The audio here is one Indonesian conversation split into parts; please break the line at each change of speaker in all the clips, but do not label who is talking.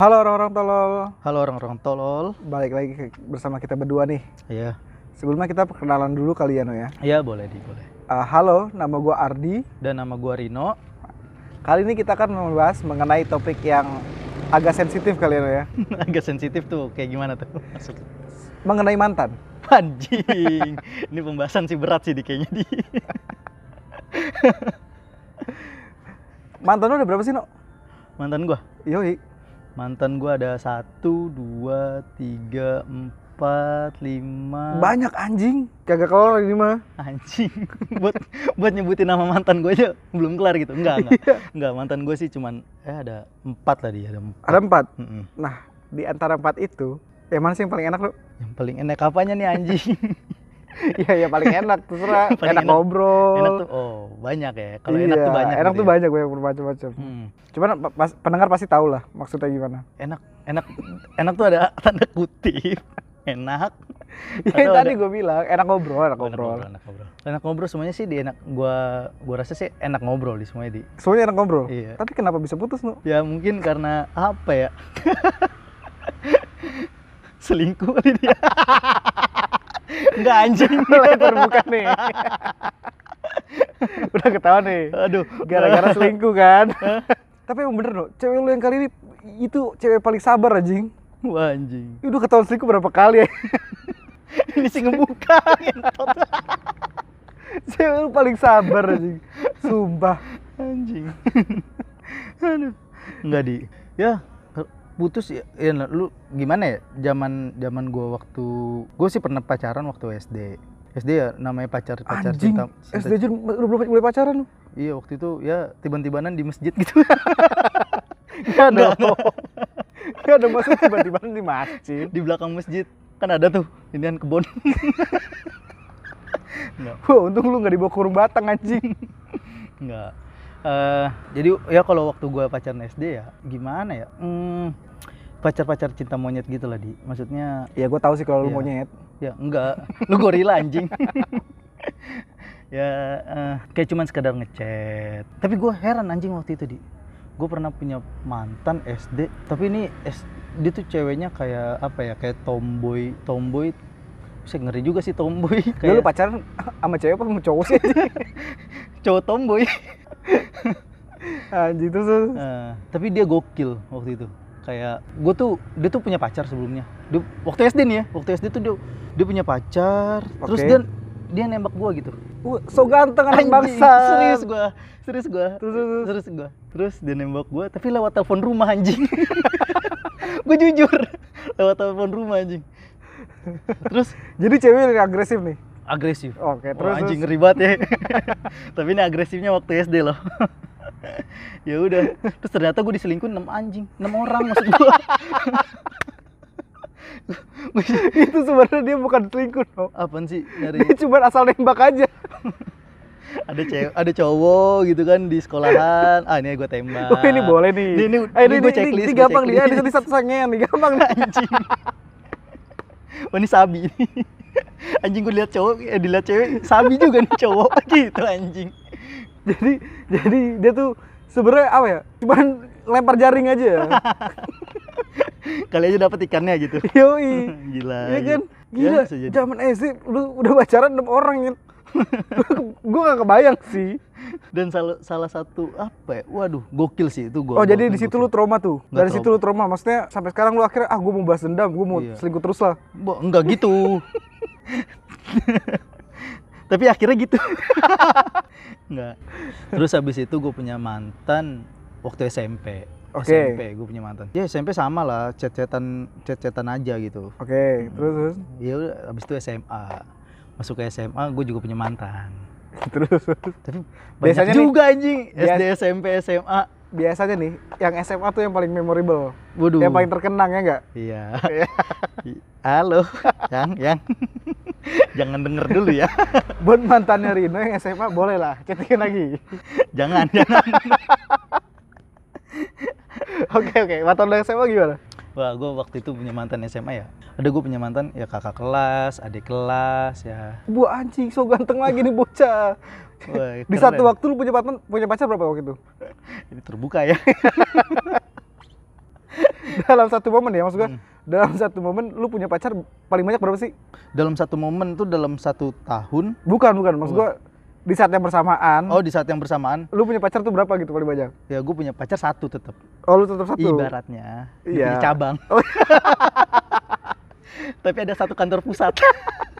orang tolol.
Halo orang-orang tolol.
Balik lagi ke- bersama kita berdua nih.
Iya.
Sebelumnya kita perkenalan dulu kali ya, No ya.
Iya boleh di boleh.
Eh, halo, nama gua Ardi.
Dan nama gua Rino.
Kali ini kita akan membahas mengenai topik yang agak sensitif kali ya, No ya.
Agak sensitif tuh kayak gimana tuh masuk.
Mengenai mantan.
Anjing. Ini pembahasan sih berat sih di kayaknya di.
Mantan lu udah berapa sih, No?
Mantan gua.
Yoi.
Mantan gua ada satu, dua, tiga, empat, lima.
Banyak anjing. Kagak kelar ini mah.
Anjing. buat buat nyebutin nama mantan gua aja belum kelar gitu. Enggak enggak.
Iya.
Enggak mantan gua sih cuman eh ada empat tadi ada empat.
Ada empat.
Mm-mm.
Nah, di antara empat itu, yang mana sih yang paling enak lu?
Yang paling enak apanya nih anjing?
Iya, ya paling enak terserah.
Paling
enak,
enak.
ngobrol.
enak tuh oh banyak ya. Kalau enak
Iya,
tuh banyak.
Enak
gitu
tuh
ya.
banyak, banyak bermacam-macam.
Hmm.
Cuman pa- pas- pendengar pasti tahu lah maksudnya gimana.
enak enak enak tuh ada tanda kutip enak
Ya,
Atau
tadi
ada-
gue bilang enak ngobrol, enak
Iya, enak ngobrol
ngobrol.
enak ngobrol enak ngobrol semuanya sih di enak gua gua rasa sih enak ngobrol di semuanya di
Semuanya enak ngobrol.
Iya.
Tapi kenapa bisa putus nu?
ya mungkin karena apa ya selingkuh kali dia nggak anjing
Mulai terbuka nih. Udah ketawa nih.
aduh
Gara-gara selingkuh kan. Tapi emang bener nu, cewek lu yang kali ini itu cewek paling sabar anjing.
wah anjing
Udah ketahuan selingkuh berapa kali ya?
ini sih ngebuka ngentot.
cewek lu paling sabar anjing. Sumpah.
anjing aduh nggak di ya putus ya, ya, lu gimana ya zaman zaman gua waktu gua sih pernah pacaran waktu SD SD ya namanya pacar pacar
Anjing.
cinta, cinta-
SD aja udah belum mulai pacaran lu.
iya waktu itu ya tiba-tibanan di masjid gitu
Gak ada.
Nggak,
Gak ada maksud tiba-tiba di masjid.
di belakang masjid kan ada tuh inian kebun
Wah, untung lu gak dibawa kurung batang anjing.
Enggak. Eh, jadi ya kalau waktu gua pacaran SD ya gimana ya? Hmm, pacar-pacar cinta monyet gitu lah di. Maksudnya
Ya gue tahu sih kalau lu
Iya.
monyet.
ya enggak, lu gorila anjing. ya eh, kayak cuman sekedar ngechat. Tapi gua heran anjing waktu itu di. Gue pernah punya mantan SD, tapi ini S- dia tuh ceweknya kayak apa ya? Kayak tomboy, tomboy. Saya ngeri juga sih tomboy.
Ya lu
Kayak
pacaran sama cewek apa sama cowok sih?
cowok tomboy.
Anjing terus, terus.
Eh, tapi dia gokil waktu itu kayak gue tuh dia tuh punya pacar sebelumnya Dia- waktu SD nih ya waktu SD tuh dia dia punya pacar terus
Oke.
dia dia nembak gue gitu
Wah, so ganteng anak
Anjing,
bangsa.
serius gue serius gue
Terus, terus, terus.
serius gue terus dia nembak gue tapi lewat telepon rumah anjing gue jujur lewat telepon rumah anjing terus
Jadi cewek yang agresif nih.
agresif
Oke,
Wah,
terus
Oh, anjing
terus.
ngeri banget ya. Tapi ini agresifnya waktu SD loh. ya udah. Terus ternyata gue diselingkuh 6 anjing, 6 orang maksud gue.
itu sebenarnya dia bukan selingkuh, no.
Apaan sih nyari
Dia cuma asal nembak aja.
ada cewek, ada cowok gitu kan di sekolahan. Ah, ini gue tembak.
Oh, ini boleh nih.
Ini, ini,
Eh,
ini gue checklist.
ini
gua
gampang ya, dia,
checklist.
ini satu sangean nih, gampang nih.
anjing. Wah, ini sabi nih. Anjing gue lihat cowok, eh, dilihat cewek, sabi juga nih cowok gitu anjing.
Jadi jadi dia tuh sebenarnya apa ya? Cuman lempar jaring aja. ya.
Kali aja dapat ikannya gitu.
Yoi.
Gila.
Iya kan?
Ya,
Gila,
bisa jadi.
zaman SD lu udah pacaran 6 orang ya. gue gak kebayang sih.
dan salah salah satu apa ya? Waduh, gokil sih itu gua.
Oh, jadi
gokil,
di situ lu
gokil.
trauma tuh.
Nggak
Dari situ lu trauma. Maksudnya sampai sekarang lu akhirnya ah gue mau balas dendam, gue mau
Iya.
selingkuh terus lah.
Bo- enggak gitu. Tapi akhirnya gitu. enggak. Terus habis itu gue punya mantan waktu SMP.
Oke.
SMP gue punya mantan. Ya SMP sama lah, cecetan cecetan aja gitu.
Oke, terus terus
Ya udah habis itu SMA. Masuk ke SMA gue juga punya mantan.
terus.
Tapi
Biasanya
biasanya
nih-
juga anjing
bias-
SD SMP SMA.
Biasanya nih, yang SMA tuh yang paling memorable,
Waduh.
yang paling terkenang ya nggak?
Iya.
Iya.
I- Halo, yang, yang. Jangan denger dulu ya.
Buat mantannya Rino yang SMA boleh lah, cetikin lagi.
Jangan, jangan.
Oke oke, mantan lu SMA gimana?
Wah, gue waktu itu punya mantan SMA ya. Ada gue punya mantan ya kakak kelas, adik kelas ya.
Bu anjing, so ganteng lagi nih bocah.
Wah,
Di
keren.
satu waktu lu punya
ya.
mantan, punya pacar berapa waktu itu?
Ini terbuka ya.
dalam satu momen ya maksud gue
Hmm.
dalam satu momen lu punya pacar paling banyak berapa sih
dalam satu momen tuh dalam satu tahun
bukan bukan maksud gue di saat yang bersamaan
oh di saat yang bersamaan
lu punya pacar tuh berapa gitu paling banyak
ya gue punya pacar satu tetap
oh lu tetap satu
ibaratnya dia
Iya.
punya cabang tapi ada satu kantor pusat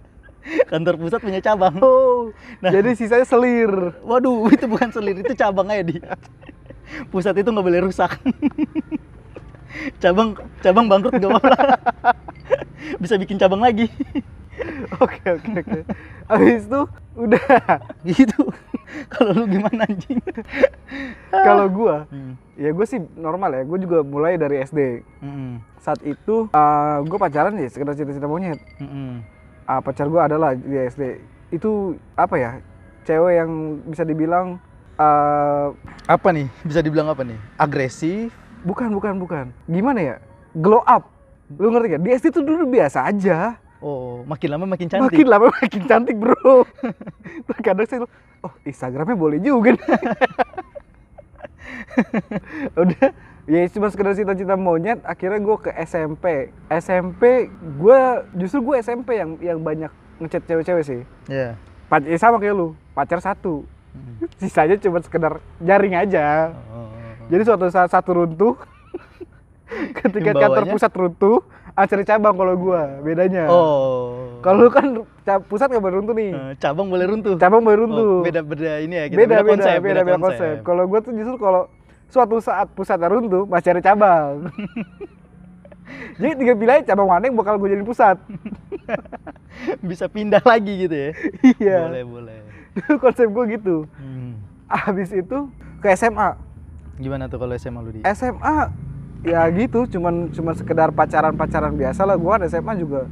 kantor pusat punya cabang
oh
Nah.
jadi sisanya selir
waduh itu bukan selir itu cabang aja dia pusat itu nggak boleh rusak cabang cabang bangkrut gak apa-apa bisa bikin cabang lagi
oke oke oke habis itu udah
gitu kalau lu gimana anjing
kalau gua
Hmm.
ya gue sih normal ya gue juga mulai dari SD
Mm-mm.
saat itu eh gue pacaran ya sekedar cinta-cinta monyet
Mm-mm.
Ah, pacar gue adalah di SD itu apa ya cewek yang bisa dibilang eh
apa nih bisa dibilang apa nih agresif
bukan bukan bukan gimana ya glow up lu ngerti gak di SD tuh dulu biasa aja
oh makin lama makin cantik
makin lama makin cantik bro terkadang saya bilang, oh Instagramnya boleh juga nih." udah ya cuma sekedar cita-cita monyet akhirnya gue ke SMP SMP gue justru gue SMP yang yang banyak ngechat cewek-cewek sih
ya Hmm.
Pac ya sama kayak lu pacar satu sisanya cuma sekedar jaring aja jadi suatu saat satu runtuh ketika kantor
Himbauannya?
pusat runtuh acara cabang kalau gua bedanya
oh
ya, kalau lu kan ca- pusat nggak boleh runtuh nih
Eh, cabang boleh runtuh
cabang boleh runtuh
Oh, beda beda ini ya kita
beda beda
konsep
beda, beda konsep kalau gua tuh justru kalau suatu saat pusatnya runtuh masih ada cabang jadi tiga pilihan cabang mana yang bakal gua jadi pusat
bisa pindah lagi gitu ya
iya
boleh boleh
Dulu konsep gua gitu
Hmm.
habis itu ke SMA
gimana tuh kalau SMA lu di
Eh, SMA ya gitu cuman cuman sekedar pacaran pacaran biasa lah gua kan SMA juga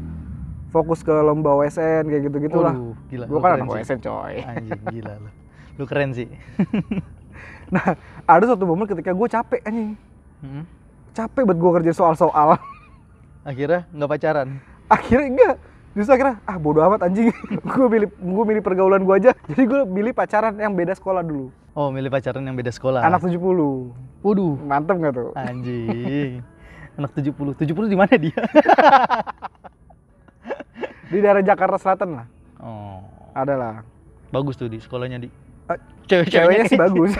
fokus ke lomba WSN kayak gitu gitulah
Waduh, gila
gua
lu
kan
keren
anak
sih.
WSN coy
anjing gila lu lu keren sih
nah ada suatu momen ketika gua capek anjing
Hmm.
capek buat gua kerja soal-soal
akhirnya nggak pacaran
akhirnya enggak justru akhirnya ah bodo amat anjing gua milih gua milih pergaulan gua aja jadi gua milih pacaran yang beda sekolah dulu
oh milih pacaran yang beda sekolah
anak 70
waduh
mantep nggak
Ah.
tuh
anjing anak 70 70 di mana dia
di daerah Jakarta Selatan lah
oh
adalah
bagus tuh di sekolahnya di
Eh, ceweknya
cewek-ceweknya
sih bagus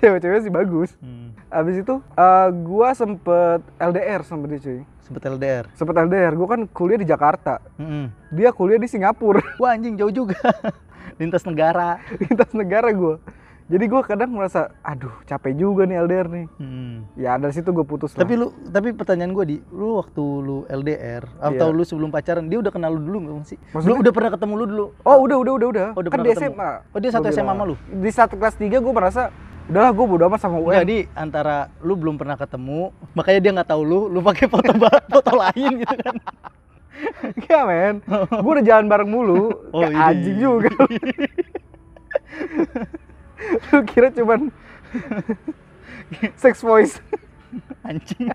cewek-cewek sih bagus
hmm.
Abis itu eh, gua sempet LDR sempet cuy.
sempet LDR
Sempet LDR, gua kan kuliah di Jakarta.
Mm-mm.
Dia kuliah di Singapura,
Wah anjing jauh juga. Lintas negara.
lintas negara gua. Jadi gua kadang merasa, aduh capek juga nih LDR nih.
Hmm.
Ya dari situ gue putus
Tapi
lah.
lu tapi pertanyaan gue di lu waktu lu LDR atau
Iya.
lu sebelum pacaran dia udah kenal lu dulu nggak sih?
Maksudnya?
Lu udah pernah ketemu lu dulu?
Oh udah udah udah udah.
Oh, udah
kan
pernah
di
ketemu.
SMA.
Oh, dia satu
Gua
SMA
bilang.
sama lu?
Di satu kelas 3 gua merasa, udahlah gua bodo amat sama UN.
Enggak, di antara lu belum pernah ketemu, makanya dia nggak tahu lu, lu pakai foto ba- foto lain gitu kan.
Iya men, gue udah jalan bareng mulu,
Oh, iya.
Kayak
ini.
anjing juga. lu kira cuman sex voice.
Anjing.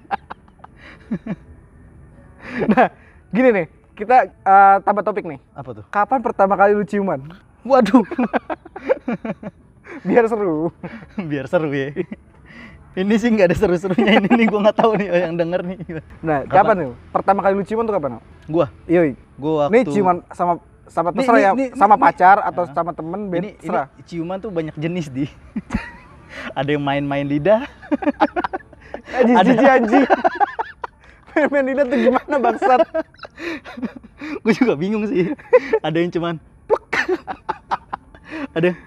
Nah, gini nih, kita eh, tambah topik nih.
Apa tuh?
Kapan pertama kali lu ciuman?
Waduh.
Biar seru.
Biar seru ya. Ini sih nggak ada seru-serunya ini nih gua nggak tahu nih oh, yang denger nih.
Nah, kapan,
Kapan?
tuh? Pertama kali lu ciuman tuh kapan?
Gua,
Yoi.
gua
Nih
waktu
ciuman sama sama
Nih,
terserah
nih,
ya,
nih,
sama
nih,
pacar atau
Ah.
sama temen, beda
ini, ini
terserah.
ciuman tuh banyak jenis di ada yang main-main lidah
Anjing,
ada-
jijik anjing. Main-main lidah tuh gimana bangsat?
gue juga bingung sih ada yang cuman plek ada yang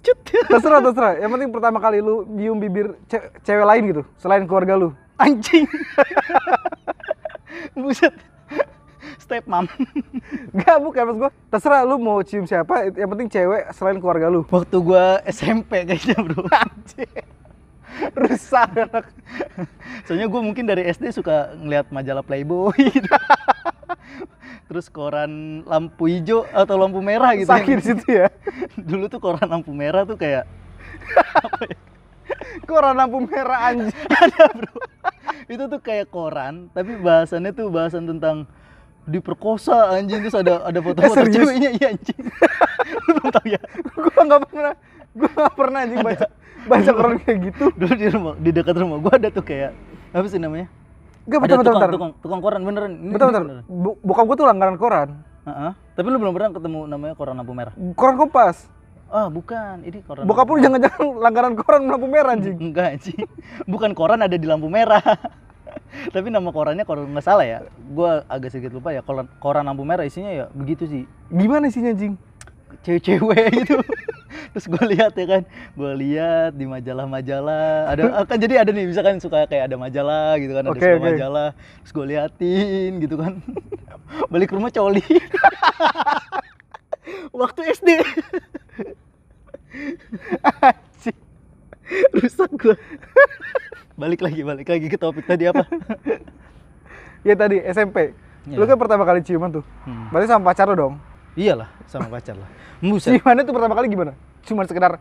cut
terserah terserah yang penting pertama kali lu nyium bibir ce- cewek lain gitu selain keluarga lu
anjing buset step mam
Enggak bukan maksud gua terserah lu mau cium siapa yang penting cewek selain keluarga lu
waktu gua SMP kayaknya bro
rusak anak
soalnya gue mungkin dari SD suka ngelihat majalah Playboy gitu. terus koran lampu hijau atau lampu merah gitu
sakit di situ ya
dulu tuh koran lampu merah tuh kayak ya?
koran lampu merah anjing
ada bro itu tuh kayak koran tapi bahasannya tuh bahasan tentang diperkosa anjing terus ada ada
Eh,
foto-foto
serius?
ceweknya iya anjing lu belum tahu ya
gua nggak pernah gua nggak pernah anjing baca banyak orang kayak gitu
dulu di rumah di dekat rumah gua ada tuh kayak apa sih namanya
Enggak,
ada
Iya, bentar, bentar,
tukang,
bentar.
tukang tukang koran beneran ini,
Bentar,
ini
bentar.
beneran.
Bu- Bokap gua tuh langganan koran.
Heeh. tapi lu belum pernah ketemu namanya koran lampu merah
Koran kompas.
ah bukan ini koran
Bokap lu jangan-jangan langganan koran lampu merah anjing.
Enggak sih. Bukan koran ada di lampu merah. Tapi nama korannya kalau nggak salah ya, gua agak sedikit lupa ya. Koran, koran lampu merah isinya ya begitu sih,
Gimana isinya anjing?
cewek-cewek gitu. Terus gue lihat ya kan, gue lihat di majalah-majalah ada ah, kan jadi ada nih misalkan suka kayak ada majalah gitu kan, ada
Oke,
suka
oke.
majalah. Terus gue liatin gitu kan. Balik ke rumah coli. Waktu SD.
Anjing.
Rusak gue. balik lagi, balik lagi ke topik tadi apa?
ya tadi SMP.
Iya.
Lu kan pertama kali ciuman tuh.
Hmm.
Berarti sama pacar lu dong.
Iyalah, sama pacar lah. Buset.
Ciumannya tuh pertama kali gimana? Cuman sekedar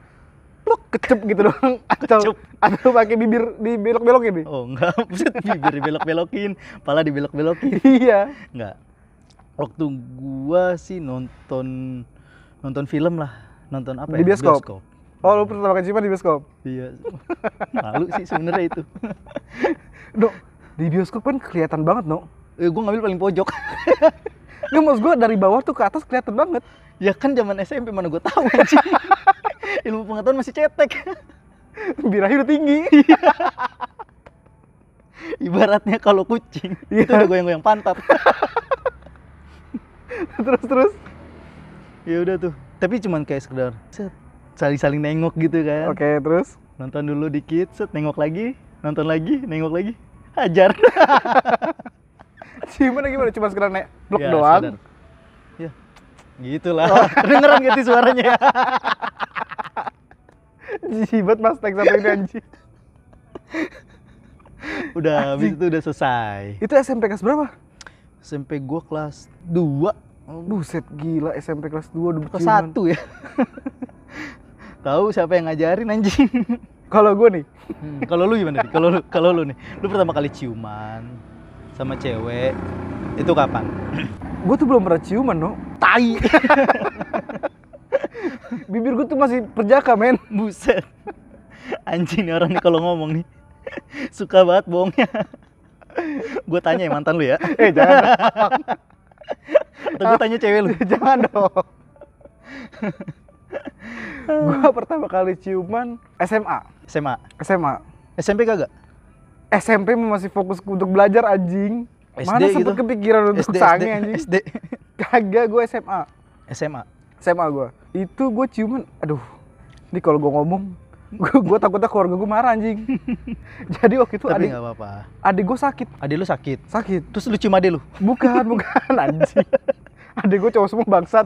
lu kecep gitu doang atau
Kecep.
atau pakai bibir ya, dibelok-belokin nih.
Oh enggak, buset bibir dibelok-belokin, pala dibelok-belokin.
Iya.
Enggak. Waktu gua sih nonton nonton film lah. Nonton apa
Di
ya?
bioskop. Oh, lu pertama kali ciuman di bioskop.
Iya. Malu sih sebenarnya itu.
Dok, di bioskop kan kelihatan banget, no.
Eh, gua ngambil paling pojok.
Ya maksud gua dari bawah tuh ke atas kelihatan banget.
ya kan zaman SMP mana gua tahu anjing. Ilmu pengetahuan masih cetek.
Birahi udah tinggi.
Iya. Ibaratnya kalau kucing
Iya.
itu udah goyang-goyang pantat.
terus terus.
ya udah tuh. Tapi cuman kayak sekedar set, saling-saling nengok gitu kan.
Oke, terus.
nonton dulu dikit, set nengok lagi, nonton lagi, nengok lagi, hajar.
Gimana gimana cuma sekedar naik blok
Ya,
doang.
sadar. Ya, gitulah. Kedengeran gitu suaranya. ya?
Jibat Mas Tek satu ini anjing.
Udah habis itu udah selesai.
Itu SMP kelas berapa?
SMP gua kelas 2,
Buset gila SMP kelas 2 udah
kelas
berciuman.
1 ya. Tahu siapa yang ngajarin anjing?
Kalau gue nih,
Hmm, Kalau lu gimana? Di? Kalau lu kalau lu nih, lu pertama kali ciuman sama cewek itu kapan?
gue tuh belum pernah ciuman, no.
Tai.
Bibir gue tuh masih perjaka, men.
Buset. Anjing nih orang nih kalau ngomong nih. Suka banget bohongnya. gue tanya ya mantan lu ya.
Eh, jangan.
Atau gue tanya cewek lu.
dong. jangan dong.
Hmm.
gue pertama kali ciuman SMA.
SMA.
SMA.
SMP kagak?
SMP mah masih fokus untuk belajar anjing.
SD
Mana
gitu?
sempet kepikiran untuk sange anjing.
SD.
Kagak gue SMA.
SMA.
SMA gue. Itu gue ciuman, aduh. Ini kalau gue ngomong, gue gue takutnya keluarga gue marah anjing. Jadi waktu itu adik
Tapi nggak apa-apa.
adik gue sakit,
Adik lu sakit.
sakit.
Terus lu cium adik lu.
Bukan, bukan anjing. Adik gue cowok semua bangsat.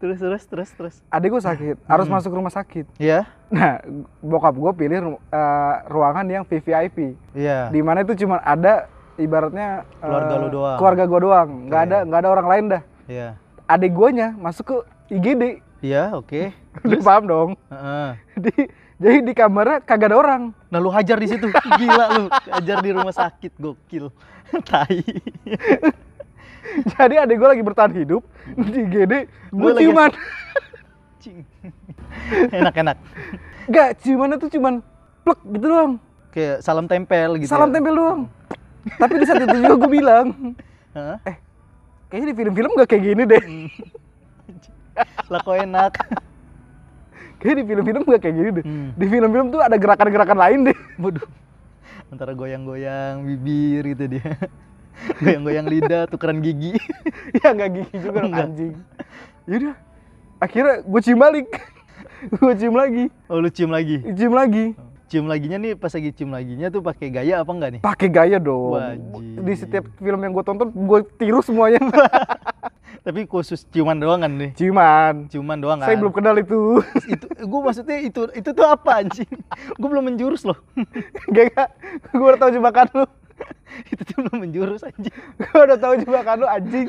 terus terus terus terus.
Adik gue sakit, harus
Hmm.
masuk rumah sakit.
Iya.
Nah, bokap gue pilih ru- eh, ruangan yang VVIP.
Iya.
Di mana itu cuma ada ibaratnya eh,
Keluarga lu doang.
Keluarga gue doang, nggak
Oke.
ada nggak ada orang lain dah.
Iya.
Adik guanya masuk ke IGD.
Iya, oke.
Lu paham dong?
Heeh.
Di, jadi di kamarnya kagak ada orang.
Nah lu hajar di situ. Gila lu. Hajar di rumah sakit gokil. Tai.
Jadi adik gue lagi bertahan hidup di IGD, gue
Gua lagi-
ciuman.
Cing. Enak-enak.
Gak, ciumannya tuh cuman plek gitu doang.
Kayak salam tempel gitu.
Salam
ya.
tempel doang. Tapi di saat itu juga gue bilang,
Hah?
kayaknya di film-film gak kayak gini deh.
Hmm. Lah kok enak.
Kayaknya di film-film gak kayak gini deh.
Hmm.
Di film-film tuh ada gerakan-gerakan lain deh.
Waduh. Antara goyang-goyang bibir gitu dia. Goyang-goyang lidah, tukeran gigi.
ya nggak gigi juga dong
Nggak.
anjing. Yaudah, akhirnya gue cium balik. gue cium lagi,
Oh lu cium lagi.
cium lagi.
Cium laginya nih pas lagi cium laginya tuh pakai gaya apa enggak nih?
Pakai gaya dong.
Wajib.
Di setiap film yang gue tonton, gue tiru semuanya.
Tapi khusus ciuman doang kan nih?
Ciuman.
Ciuman doang kan?
Saya belum kenal itu.
itu gue maksudnya itu itu tuh apa anjing? gue belum menjurus loh.
Gak, gak. Gue udah tau jebakan lu.
itu tuh belum menjurus anjing.
Gue udah tau jebakan lu anjing.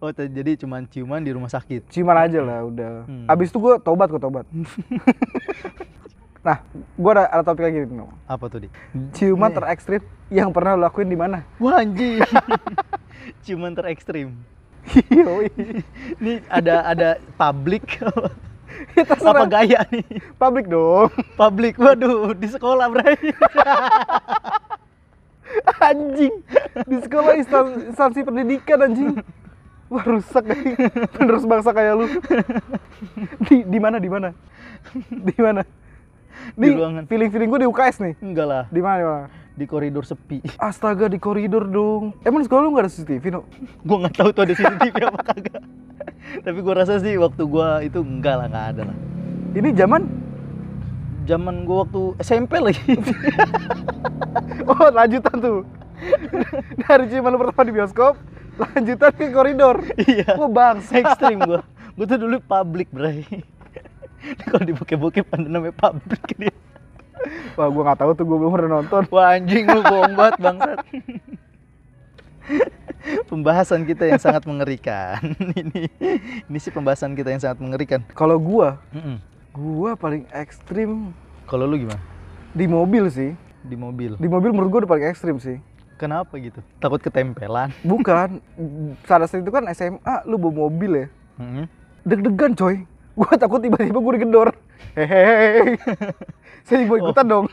Oh t- jadi cuman ciuman di rumah sakit.
Ciuman aja lah udah.
Hmm.
Abis itu gue tobat, gue tobat. nah, gue ada, ada topik lagi nih. Nom.
Apa tuh di?
Ciuman terekstrim yang pernah lo lakuin di mana?
Wah anjing. Ciuman terekstrim.
Yoi.
Ini ada ada publik
Ya, terserah.
apa gaya nih
Publik dong.
publik waduh di sekolah bray
anjing. Di sekolah instan- instansi pendidikan anjing. Wah rusak nih. Penerus bangsa kayak lu. Di di mana di mana? Di mana?
Di
Di
ruangan.
feeling-feeling gue di UKS nih.
enggak lah
Di mana di mana?
di koridor sepi
Astaga di koridor dong. Emang di sekolah lu nggak ada CCTV, no?
gua nggak tahu tuh ada CCTV apa kagak tapi gua rasa sih waktu gua itu enggak lah nggak ada lah
Ini zaman
zaman gua waktu SMP lagi
oh lanjutan tuh. Dari cuman lu pertama di bioskop, lanjutan ke koridor.
iya
Wah bangsa.
ekstrim gua gua tuh dulu publik bray kalau di bokep-bokep ada namanya publik dia
Wah gue nggak tahu tuh gue belum pernah nonton.
Wah anjing lu bohong banget bangsat. pembahasan kita yang sangat mengerikan. ini ini sih pembahasan kita yang sangat mengerikan.
Kalau gua,
Mm-mm.
gua paling ekstrim
Kalau lu gimana?
di mobil sih.
Di mobil.
Di mobil menurut gua udah paling ekstrim sih.
Kenapa gitu? Takut ketempelan.
Bukan, saat saat itu kan SMA lu bawa mobil ya.
Mm-mm.
Deg-degan coy. Gua takut tiba-tiba gua digedor. Hehehe. Saya mau ikutan dong.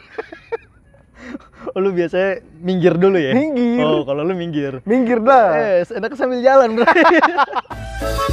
Oh, lu biasanya minggir dulu ya?
Minggir.
Oh, kalau lu minggir.
Minggir dah.
Eh, enaknya sambil jalan, bro.